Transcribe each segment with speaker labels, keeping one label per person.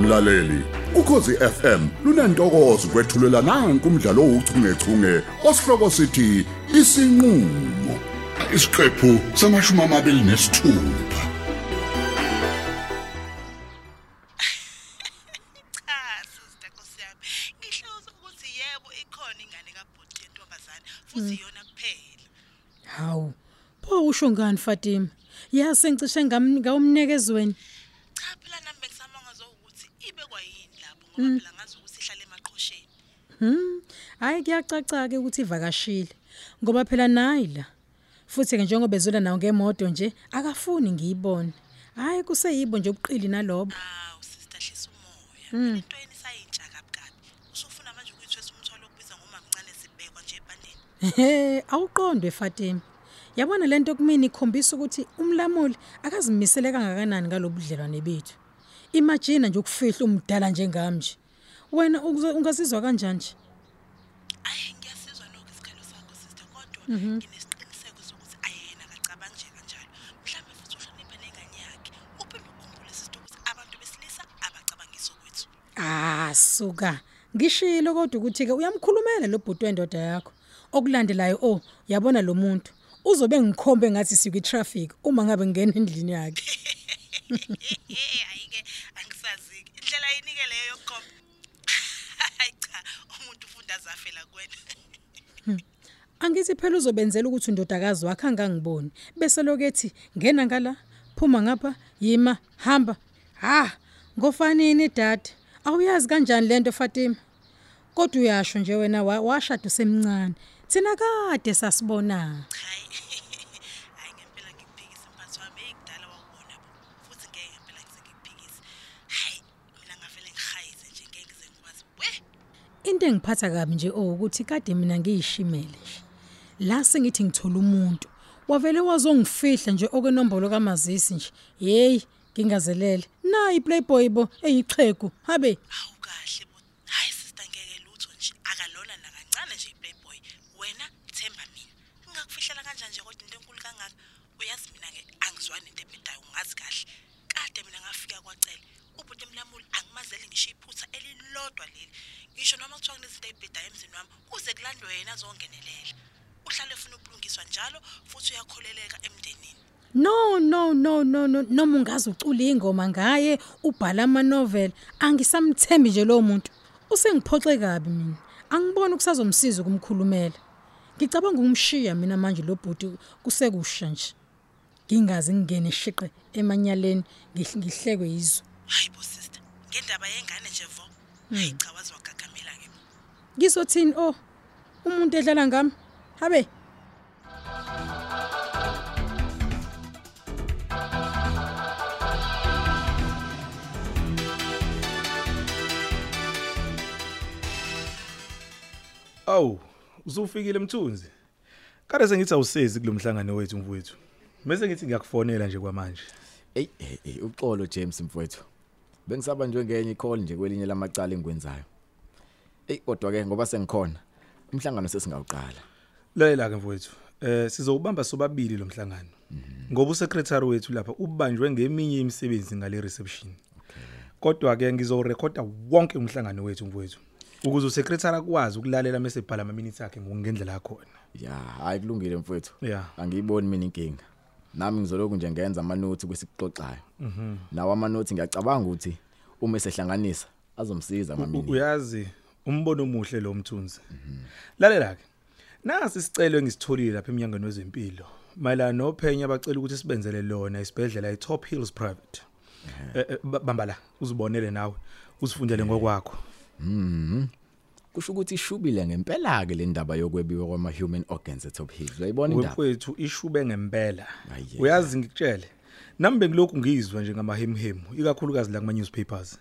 Speaker 1: mlaleli ukhosi FM lunantokozo kwethulela nanku umdlalo ouchungechunge osihloko sithi isinqulo isiqephu samashumi amabili nesithupha
Speaker 2: cha sister Nkosi yami ngihlose ukuthi yebo ikhona ingane kabhuti yentombazane futhi yona kuphela
Speaker 3: Hawu. Pho usho ngani Fatima? Yase ngicishe ngamnikezweni.
Speaker 2: cha phela nami bengisamanga zokuthi ibe kwayini lapho ngoba phela ngazi ukuthi ihlala emaqhosheni
Speaker 3: Hmm. Hayi kuyacaca ke ukuthi ivakashile. Ngoba phela nayi la. Futhi ke njengoba ezula nawo ngemoto nje akafuni ngiyibone. Hayi kuseyibo nje ubuqili nalobo.
Speaker 2: awu sister hlisa umoya Mina into yeni sayintsha kabi kabi usufuna manje ukuyithwesa umthwalo okubiza ngoma mncane sibhekwa nje ebaneni
Speaker 3: Ehhe, awuqondwe Fatima. Yabona lento kumini ikhombisa ukuthi umlamuli akazimisele kangakanani kalobudlelwane bethu. Imagine nje ukufihla umdala njengami nje. Wena ukuzo- ungasizwa kanjani nje?
Speaker 2: ayi ngiyasizwa nokho isikhalo sakho sister kodwa nginesiqiniseko sokuthi ayena akacabangi nje kanjalo mhlawumbe futhi uhlonipha nengane yakhe uphinde ukhumbule sister ukuthi abantu besilisa abacabangisi okwethu
Speaker 3: Ah suka. Ngishilo kodwa ukuthi ke uyamkhulumela lo bhuti wendoda yakho. Okulandelayo oh yabona lo muntu uzobe ngikhombe ngathi siku traffic uma ngabe ngena endlini yakhe.
Speaker 2: Eh ayike angisaziki indlela yinike leyo yokukhomba hayi cha umuntu ufunda azafela kuwena
Speaker 3: Angithi phela uzobenzela ukuthi undodakazi wakhe angangiboni. Bese lokethi ngena ngala, phuma ngapha, yima, hamba. Ha, ngofanini dad. Awuyazi kanjani lento Fatima? Kodwa uyasho nje wena wa- washada usemncane. Thina kade sasibonana.
Speaker 2: hayi hayi ngempela ngikuphikise mphathi wami eyikudala wakubona bo futhi ngeke ngempela ngize ngikuphikise hayi mina ngavele ngihayise nje ngeke ngize ngikwazi we
Speaker 3: Into engiphatha kabi nje ukuthi kade mina ngiyishimele nje. La sengithi ngithola umuntu. Wavele wazongifihla nje okwenombolo kamazisi nje. Hey, ngingazelele. Nayi Playboy bo eyiqhegu. Habe.
Speaker 2: awukahle bo hayi sister ngeke lutho nje akalona nakancane nje iplayboy wena themba mina ngingakufihlela kanjani nje kodwa into enkulu kangaka uyazi mina-ke angizwani into ebhedayo ungazi kahle kade mina ngafika kwacele ubhuti mlamuli angimazeli ngisho iphutha elilodwa leli ngisho noma kuthiwa kunezinto ey'bhedayo emzini wami kuze kulandwe yena azongenelela uhlale ufuna ukulungiswa njalo futhi uyakholeleka emndenini
Speaker 3: No, no, no, no, no. Noma ungaze ucule ingoma ngaye, ubhala ama novel, angisamthembi nje lo muntu. Usengiphoxe kabi mina. Angiboni kusazomsiza ukumkhulumela. Ngicabanga ukumshiya mina manje lo bhuti kusekusha nje. Ngingazi ngingene shiqe emanyaleni ngihl- ngihlekwe yizo.
Speaker 2: hayi bo sister ngendaba yengane nje vo hayi cha waze wagagamela-ke bo
Speaker 3: Ngizothini oh umuntu edlala ngami? Habe.
Speaker 4: Awu, usufikile mthunzi. Kade sengithi awusezi kulomhlangano wethu mfowethu. Mase ngithi ngiyakufonela nje kwamanje.
Speaker 5: Ey, hey, hey, uxolo James mfowethu. Bengisaba nje ngenye i-call nje kwelinye lamacala engikwenzayo. Ey, kodwa ke ngoba sengikhona, umhlangano sesingawuqala.
Speaker 4: Lalela ke mfowethu. Eh sizowubamba sobabili lomhlangano. Ngoba usekretary wethu lapha ubanjwe ngeminye imisebenzi ngale reception. Kodwa ke ngizorekhoda wonke umhlangano wethu mfowethu. Ukuze usekretary akwazi ukulalela mase ebhala ama-minutes akhe ngokungendlela khona.
Speaker 5: Ya, hayi kulungile mfowethu.
Speaker 4: Yeah.
Speaker 5: Angiyiboni mina inkinga. Nami ngizoloku nje ngenza ama-notes kwesixoxayo. Mhm. Nawo ama-notes ngiyacabanga ukuthi uma esehlanganisa azomsiza
Speaker 4: U-
Speaker 5: mamini.
Speaker 4: uyazi umbono omuhle lo mthunzi lalela ke nasi isicelo engisitholile lapha eminyangweni wezempilo mayelana nophenya abacela ukuthi sibenzele lona isibhedlela iTop Hills Private Eh, eh, ba- bamba la uzibonele nawe uzifundele ngokwakho
Speaker 5: Kusho ukuthi ishubile ngempela ke le ndaba yokwebiwa kwama human organs etop hills. Uyayibona indaba?
Speaker 4: wemfowethu ishube ngempela
Speaker 5: Ayeye.
Speaker 4: uyazi ngikutshele nami bengilokhu ngizwa nje ngamahemhemu ikakhulukazi la kuma newspapers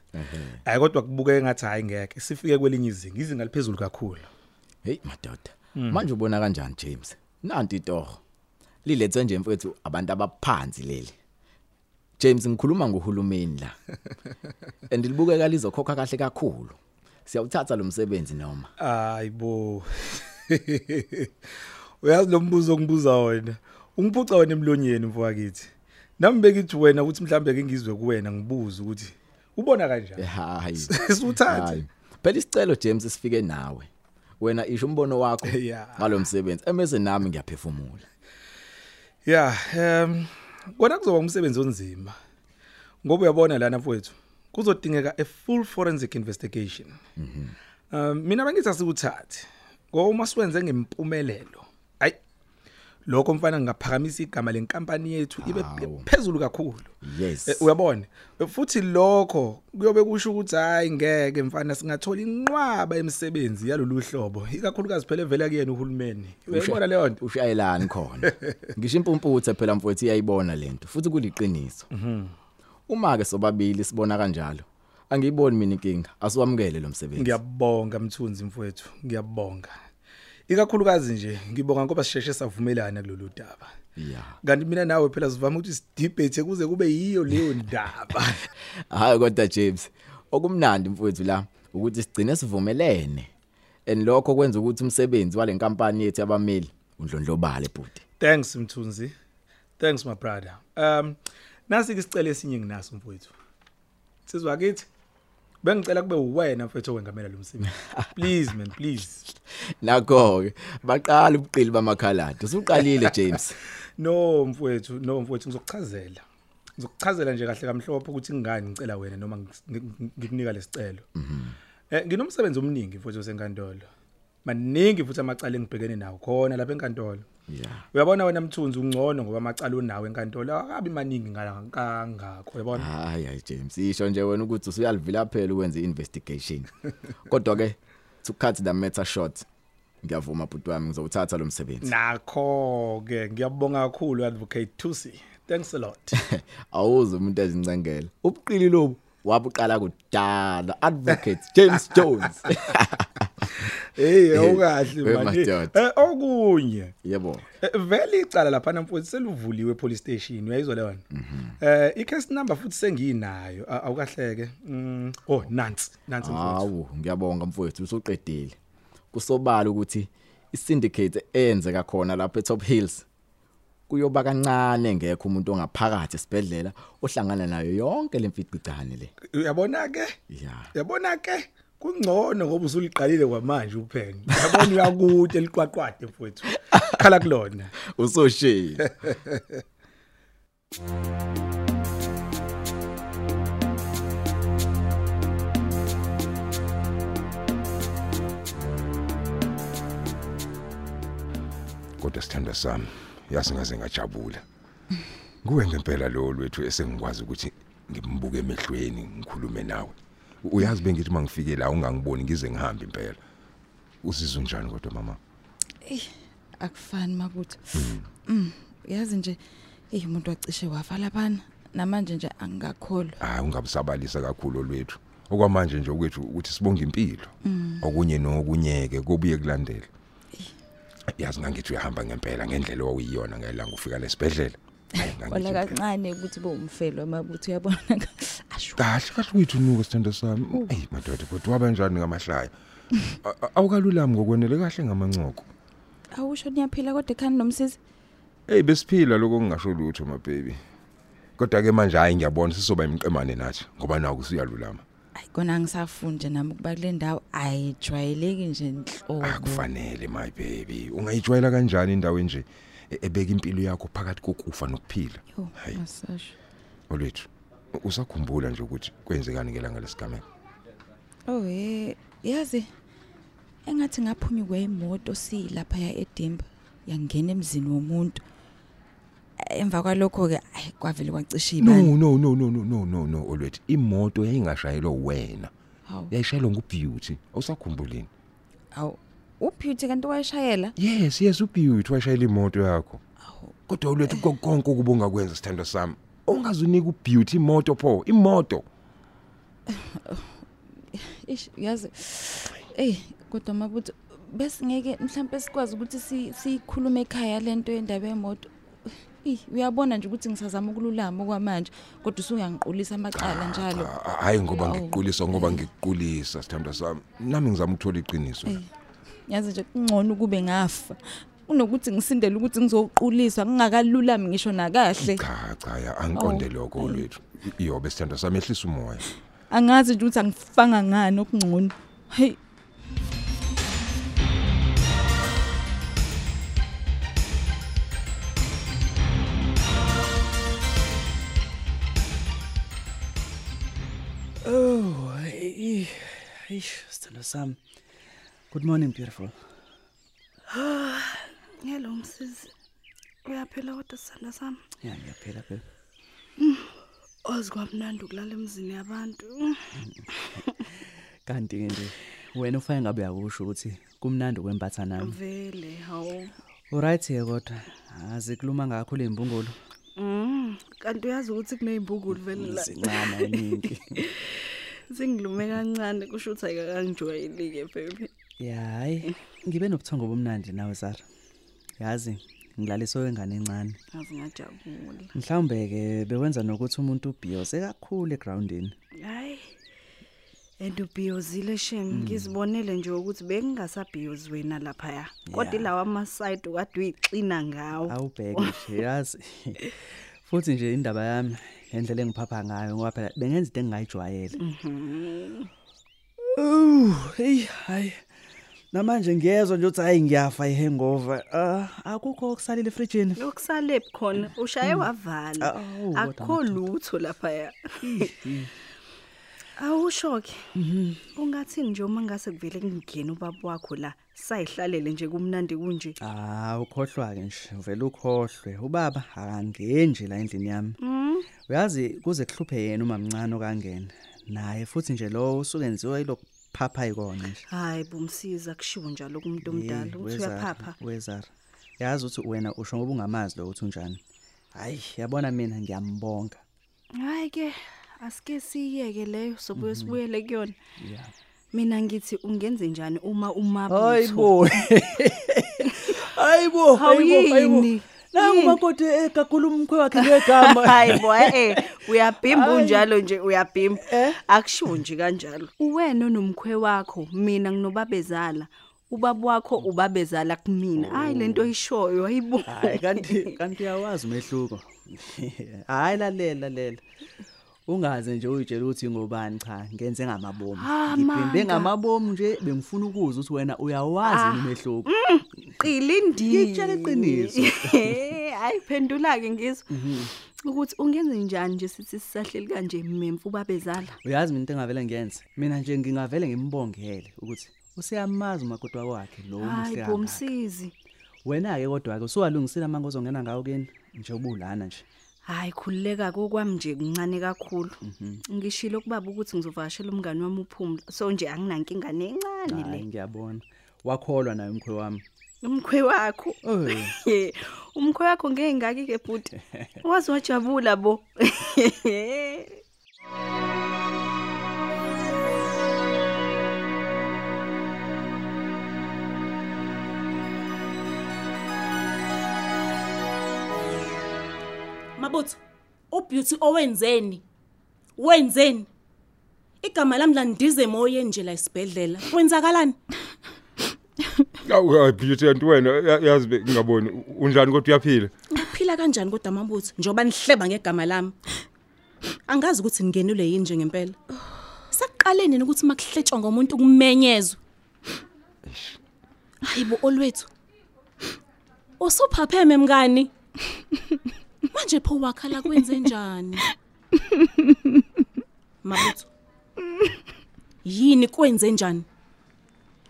Speaker 4: hayi kodwa kubukeke ngathi hayi ngeke sifike kwelinye izinga izinga liphezulu kakhulu
Speaker 5: Hey madoda.
Speaker 4: Hmm.
Speaker 5: Manje ubona kanjani James? Nanti toho. Lilethwe nje mfethu abantu abaphansi leli. James ngikhuluma ngohulumeni la. Andilibukeka lizokhokha kahle kakhulu. Siyawuthatha lo msebenzi noma.
Speaker 4: Ayibo. Uyazi lo mbuzo ongibuza wona. Ungiphuca wena emlonyeni mfowakathi. Nami bekithi wena ukuthi mhlambe ke ngizwe kuwena ngibuza ukuthi ubona kanjani
Speaker 5: hayi
Speaker 4: Eh, Siwuthathe.
Speaker 5: Hayi. phela isicelo James sifike nawe wena isho umbono wakho
Speaker 4: Yeah.
Speaker 5: ngalo msebenzi emese nami ngiyaphefumula
Speaker 4: ya um kona kuzoba umsebenzi onzima ngoba uyabona lana mfowethu kuzodingeka a full forensic investigation
Speaker 5: Mhm.
Speaker 4: um mina bengithi asiwuthathe ngoba uma siwenze ngempumelelo hayi lokho mfana ngingaphakamisa igama lenkampani yethu ibe
Speaker 5: Hawu.
Speaker 4: phezulu kakhulu
Speaker 5: Yes.
Speaker 4: Eh, uyabona Eh, futhi lokho kuyobe kusho ukuthi hayi ngeke mfana singathola inqwaba emsebenzi yalolu hlobo ikakhulukazi phela evela kuyena uhulumeni uyayibona leyo nto
Speaker 5: ushayelani khona ngisho impumputhe phela mfowethu iyayibona lento futhi kuliqiniso uma ke sobabili sibona kanjalo angiyiboni mina inkinga asiwamukele lo msebenzi
Speaker 4: ngiyabonga mthunzi mfowethu ngiyabonga ikakhulukazi nje ngibonga ngoba sisheshe savumelana kulolu daba
Speaker 5: yeah
Speaker 4: kanti mina nawe phela sivame ukuthi sidebate kuze kube yiyo leyo ndaba
Speaker 5: hayi kodwa James okumnandi mfowethu la ukuthi sigcine sivumelene and lokho kwenza ukuthi umsebenzi walenkampani yethu yabameli undlondlobale bhuti
Speaker 4: thanks mthunzi thanks my brother um nasi ke sicela esinye nginaso mfowethu sizwa kithi bengicela kube uwena mfethu owengamela lo msebenzi please man please
Speaker 5: nakho ke baqala ubuqili bamakhaladi usuqalile James
Speaker 4: no mfowethu no mfowethu ngizokuchazela ngizokuchazela nje kahle kamhlophe ukuthi ngingani ngicela wena noma ngi- ngi- ngikunika lesicelo eh nginomsebenzi omningi mfowethu osenkantolo maningi futhi amacala engibhekene nawo khona lapha enkantolo
Speaker 5: yeah
Speaker 4: uyabona wena mthunzi ungcono ngoba amacala onawo enkantolo akabi maningi ngala- kangako uyabona
Speaker 5: hayi hayi James isho nje wena ukuthi usuyalivilaphela ukwenza investigation kodwa ke to cut the matter short ngiyavuma bhuti wami ngizowuthatha lo msebenzi
Speaker 4: nakho ke ngiyabonga kakhulu advocate Thusi thanks a lot
Speaker 5: awuze umuntu ezincengela ubuqili lobu wabuqala kudala advocate James Jones
Speaker 4: hey awukahle
Speaker 5: we
Speaker 4: manje
Speaker 5: madoda.
Speaker 4: eh okunye
Speaker 5: yebo
Speaker 4: Eh, vele icala lapha namfowethu seluvuliwe police station uyayizwa leyo
Speaker 5: Mhm.
Speaker 4: eh icase number futhi senginayo a- awukahleke Mm, oh nansi nansi mfowethu
Speaker 5: hawu ngiyabonga mfowethu usuqedile kusobala ukuthi isyndicate eyenzeka khona lapha eTop Hills kuyoba kancane ngekho umuntu ongaphakathi esibedlela ohlangana nayo yonke lemficicane le
Speaker 4: uyabona ke
Speaker 5: yeah
Speaker 4: uyabona ke kungcono ngoba usuliqalile kwamanje uphenyo uyabona uyakude liqwaqwade mfowethu khala kulona
Speaker 5: usoshila
Speaker 6: kodwa sithanda sami yazi ngaze ngajabula kuwe ngempela lo lwethu esengikwazi ukuthi ngimbuke emehlweni ngikhulume nawe U- uyazi bengithi mangifike la ungangiboni ngize ngihambe impela uzizwe unjani kodwa mama
Speaker 7: akufani mabuthi mm yazi nje eyi umuntu wacishe wafa laphana namanje nje angikakholwa
Speaker 6: hayi ungabusabalisa kakhulu lwethu okwamanje nje okwethu ukuthi sibonge impilo okunye nokunyeke kubuye kulandela yazi ngangithi uyahamba ngempela ngendlela owawuyiyona ngelanga ufika lesibhedlela Hayi, ngangithi
Speaker 7: wona
Speaker 6: impela.
Speaker 7: kancane ukuthi bowumfelo mabuthi uyabona asho
Speaker 6: kahle kahle wethu nuka sithando sami eyi madoda kodwa waba njani ngamahlaya A- a- awukalulami ngokwenele kahle ngamancoko
Speaker 7: awusho niyaphila kodwa ekhani nomsizi
Speaker 6: eyi besiphila lokho kungasho lutho mabhebi kodwa-ke manje hhayi ngiyabona sisoba imiqemane nathi ngoba naku siyalulama
Speaker 7: ayi kona angisafundi nje nami ukuba kule ndawo ayijwayeleki nje nhlobo
Speaker 6: akufanele my baby ungayijwayela kanjani indawo enje e- ebeka impilo yakho phakathi kokufa nokuphila
Speaker 7: Yo,
Speaker 6: hayi
Speaker 7: Oh, masasho
Speaker 6: olwethu u- usakhumbula nje ukuthi kwenzekani ngelanga lesigameko
Speaker 7: oh eh yazi engathi ngaphunyukwe imoto silapha ya Edimba yangena emzini womuntu emva kwalokho ke ayi kwavele kwacisha
Speaker 6: no
Speaker 7: ibani
Speaker 6: no no no no no no no olwethu imoto yayingashayelwa wena
Speaker 7: hawu
Speaker 6: yayishayelwa ngubeauty awusakhumbulini
Speaker 7: awu ubeauty kanti wayeshayela
Speaker 6: yes yes ubeauty washayela imoto yakho kodwa ulwethu ko konke ukuba ungakwenza sithando sami ungazunika ubeauty imoto pho imoto
Speaker 7: ish yazi ey kodwa mabuthi besingeke mhlawumbe sikwazi ukuthi si- siyikhulume ekhaya lento yendaba yemoto Eh, uyabona nje ukuthi ngisazama ukululama okwamanje kodwa usungiyangiqulisa amacala njalo
Speaker 6: Ah, ah, hhayi ngoba
Speaker 7: Awu.
Speaker 6: ngikuqulisa ngoba ngikuqulisa sithando sami nami ngizama ukuthola iqiniso
Speaker 7: Eh, yazi nje kungcono ukube ngafa kunokuthi ngisindele ukuthi ngizoquliswa ngingakalulami ngisho nakahle
Speaker 6: cha cha ya angiqonde
Speaker 7: Awu,
Speaker 6: lokho
Speaker 7: ayi.
Speaker 6: olwethu iyobe sithando sami ehlisa umoya
Speaker 7: angazi nje ukuthi angifanga ngani okungcono hey
Speaker 8: Oh, hey. Eish, sithando sami. Good morning beautiful.
Speaker 9: Hello msisi. Uyaphila kodwa sithanda sami.
Speaker 8: Yeah, ngiyaphila phela.
Speaker 9: Ozi kwamnandi ukulala emzini yabantu.
Speaker 8: Kanti ke nje wena ufaya ngabe yakusho ukuthi kumnandi kwembatha nami.
Speaker 9: Vele hawo.
Speaker 8: Alright ke kodwa azikuluma ngakho lembungulo.
Speaker 9: Mm, kanti uyazi ukuthi kunezimbukulo vele la.
Speaker 8: Sincana iningi.
Speaker 9: Singilume kancane kusho ukuthi ayika kangijoyelike baby.
Speaker 8: Yeah, hayi. Ngibe nobuthongo bomnandi nawe Zara. Yazi, ngilaliso wengane encane.
Speaker 9: Ngazi ngajabula.
Speaker 8: Mhlambe ke bekwenza nokuthi umuntu ubhiyoze kakhulu egroundini.
Speaker 9: Hayi. Endubhiyozile shem
Speaker 8: Mm.
Speaker 9: ngizibonele nje ukuthi bengingasabhiyozi wena lapha ya. Kodwa
Speaker 8: Yeah.
Speaker 9: ilawa amasayidi kade uyixina ngawo.
Speaker 8: awubheke nje yazi futhi nje indaba yami ngendlela engiphapha ngayo ngoba phela bengenza into engingayijwayele Oh Mm-hmm. hey hayi namanje ngiyezwa nje ukuthi hayi ngiyafa ihangover ah akukho okusalile efrijini
Speaker 9: Lokusale khona ushaye wavala.
Speaker 8: Awu, Mm. Uh, oh, kodwa
Speaker 9: Akho lutho lapha ya. Awushoke.
Speaker 8: Mm-hmm.
Speaker 9: Ungathini nje uma ngase kuvele kungena ubaba wakho la sayihlalele nje kumnandi kunje.
Speaker 8: ah ukhohlwa ke nje uvela ukhohlwe ubaba akangeni nje la endlini yami uyazi kuze kuhluphe yena uma mncane okangena naye futhi nje lo usuke enziwa ilokuphapha ikona nje
Speaker 9: Hayi bomsiza kushiwo njalo kumuntu
Speaker 8: Hey,
Speaker 9: omdala ukuthi
Speaker 8: wezara,
Speaker 9: uyaphapha.
Speaker 8: wezara yazi ukuthi wena usho ngoba ungamazi lo ukuthi unjani hayi yabona mina ngiyambonga
Speaker 9: Hayi ke asike siyeke leyo sobuye sibuyele kuyona.
Speaker 8: yeah
Speaker 9: Mina ngithi ungenze njani uma umabutho?
Speaker 8: hayibo hayibo hayibo hayibo
Speaker 9: Hawuyini?
Speaker 8: nangu
Speaker 9: Yini?
Speaker 8: makoti egagula umkhwe wakhe ngegama
Speaker 9: Hayi bo eh uyabhimba unjalo nje uyabhimba akushiwo nje kanjalo Eh? uwena nomkhwe wakho mina nginobabezala ubaba wakho ubabezala kumina hayi lento oyishoyo ayibo
Speaker 8: hayi kanti kanti uyawazi umehluko hayi lalela lalela ungaze nje uyitshela ukuthi ngobani cha ngenze ngamabomu
Speaker 9: Ah,
Speaker 8: ngiphinde
Speaker 9: Manga.
Speaker 8: ngamabomu nje bengifuna ukuza ukuthi wena uyawazi yini umehluko
Speaker 9: qilindile
Speaker 8: Ngitshela iqiniso. Mhm.
Speaker 9: hayi phendula ke ngizwa ukuthi ungenze njani nje sithi sisahleli kanje memfu ubabezala
Speaker 8: uyazi mina into engavele ngiyenze mina nje ngingavele ngimbongele ukuthi useyamazi umakoti wakwakhe lo
Speaker 9: hayi bomsizi
Speaker 8: wena-ke kodwa-ke usuwalungisile amanga ozongena ngawo kini nje ubulana nje
Speaker 9: hayi khululeka kokwami nje kuncane kakhulu
Speaker 8: Mhm.
Speaker 9: ngishilo kubaba ukuthi ngizovakashela umngane wami uphumla so nje anginankinga nencane le
Speaker 8: hayi ngiyabona wakholwa naye umkhwe wami
Speaker 9: umkhwe wakho
Speaker 8: Oy.
Speaker 9: Eh, umkhwe wakho ngeke ngaki ke bhuti wazi wajabula bo
Speaker 10: mabutho ubeauty owenzeni wenzeni igama lami landize emoye nje la isibhedlela kwenzakalani
Speaker 6: Awu beauty and wena ya- yazi be- ngingaboni u- unjani kodwa uyaphila.
Speaker 10: ngiphila kanjani kodwa mabutho njengoba nihleba ngegama lami angazi ukuthi ningenelwe yini njengempela sakuqale nini ukuthi makuhletshwa ngomuntu kumenyezwe hayibo olwethu usuphapheme mngani manje pho wakhala kwenze njani mabutho yini kwenze njani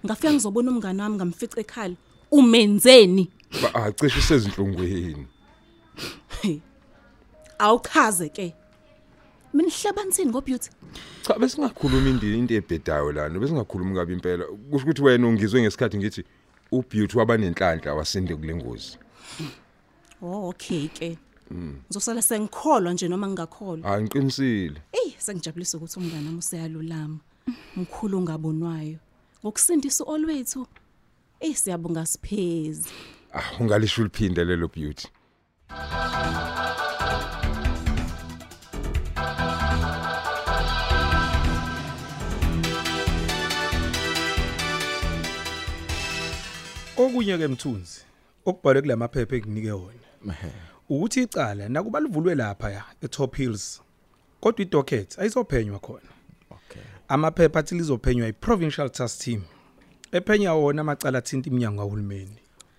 Speaker 10: ngafika ngizobona umngane wami ngamfica ekhala umenzeni
Speaker 6: Ba- ah, Cishe usezinhlungwini.
Speaker 10: Hey. Awuchaze ke. Mina hlabanisini ngobeauty.
Speaker 6: Cha bese singakhuluma indini into ebhedayo lana bese singakhulumi kabi impela. Kusho ukuthi wena ungizwe ngesikhathi ngithi ubeauty wabanenhlanhla wasinde kule ngozi.
Speaker 10: Oh okay ke. Ngizosala sengikholwa nje noma ngingakholwa.
Speaker 6: Hayi Ah, ngiqinisile.
Speaker 10: Ey, sengijabulisa ukuthi umngane wami useyalulama. Mkhulu ongabonwayo. Ngokusindisa olwethu. Ey, siyabonga siphezi.
Speaker 6: Ah ungalisho uliphinde lelo beauty.
Speaker 4: okunye ke mthunzi okubhalwe kulamaphepha enginike wona ukuthi icala nakuba livulwe lapha ya eTop Hills kodwa idocket ayizophenywa khona amaphepha athi lizophenywa i-provincial task team ephenya wona amacala athinta iminyango kahulumeni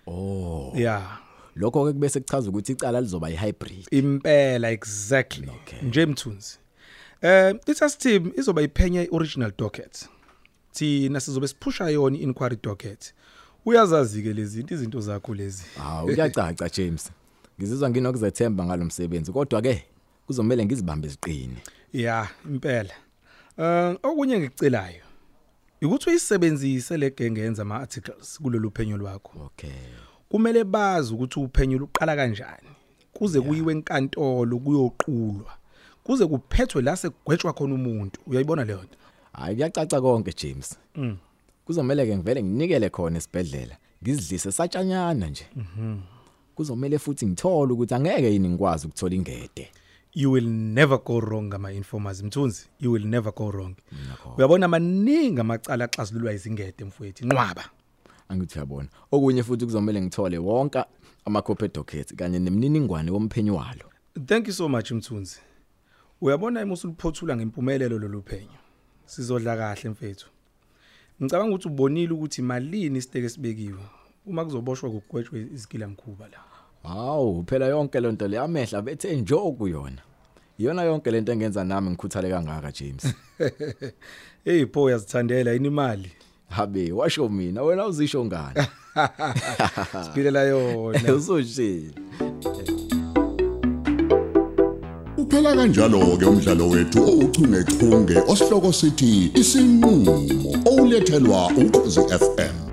Speaker 5: Oh,
Speaker 4: yeah
Speaker 5: lokho ke kubese kuchaza ukuthi icala lizoba ihybrid.
Speaker 4: impela exactly nje mthunzi eh itask team izoba iphenya ioriginal docket thina sizobe siphusha yona inquiry docket uyazazi ke lezi zinto izinto zakho lezi
Speaker 5: Hawu uyacaca James. Ngizizwa nginokuzethemba ngalomsebenzi kodwa ke kuzomela ngizibambe siqine.
Speaker 4: ya impela eh okunye ngicelayo ukuthi uyisebenzise le genge yenza ama articles kulolu phenyo lwakho
Speaker 5: Okay.
Speaker 4: kumele bazi ukuthi uphenyo luqala kanjani kuze kuyiwe enkantolo kuyoqulwa kuze kuphethwe la sekugwetshwa khona umuntu uyayibona leyo nto
Speaker 5: Hayi kuyacaca konke James. Mhm. Kuzomela ke ngivele nginikele khona esibedlela. Ngizidlise satshanyana nje. Mhm. Kuzomela futhi ngithole ukuthi angeke yini ngikwazi ukuthola ingede.
Speaker 4: you will never go wrong ngama informers mthunzi you will never go wrong uyabona maningi amacala axazululwa izingede mfowethu inqwaba
Speaker 5: Angithi uyabona. Okunye futhi kuzomela ngithole wonke amakhophe docket kanye nemininingwane womphenyi walo.
Speaker 4: thank you so much mthunzi uyabona uma usuliphothula ngempumelelo lolu phenyo sizodla kahle mfethu ngicabanga ukuthi ubonile ukuthi malini isiteke sibekiwe uma kuzoboshwa kugwetshwe izigila mkhuba la
Speaker 5: Hawu, phela yonke le nto le amehla bethe njo kuyona. Iyona yonke lento engenza nami ngikhuthale kangaka James.
Speaker 4: hey pho uyazithandela yini imali
Speaker 5: Habe, washo mina, wena uzisho ngani?
Speaker 4: siphilela yona
Speaker 5: Usoshilo.
Speaker 1: Uphela kanjalo ke umdlalo wethu ouchungechunge osihloko sithi isinqulo owulethelwa ukhosi FM.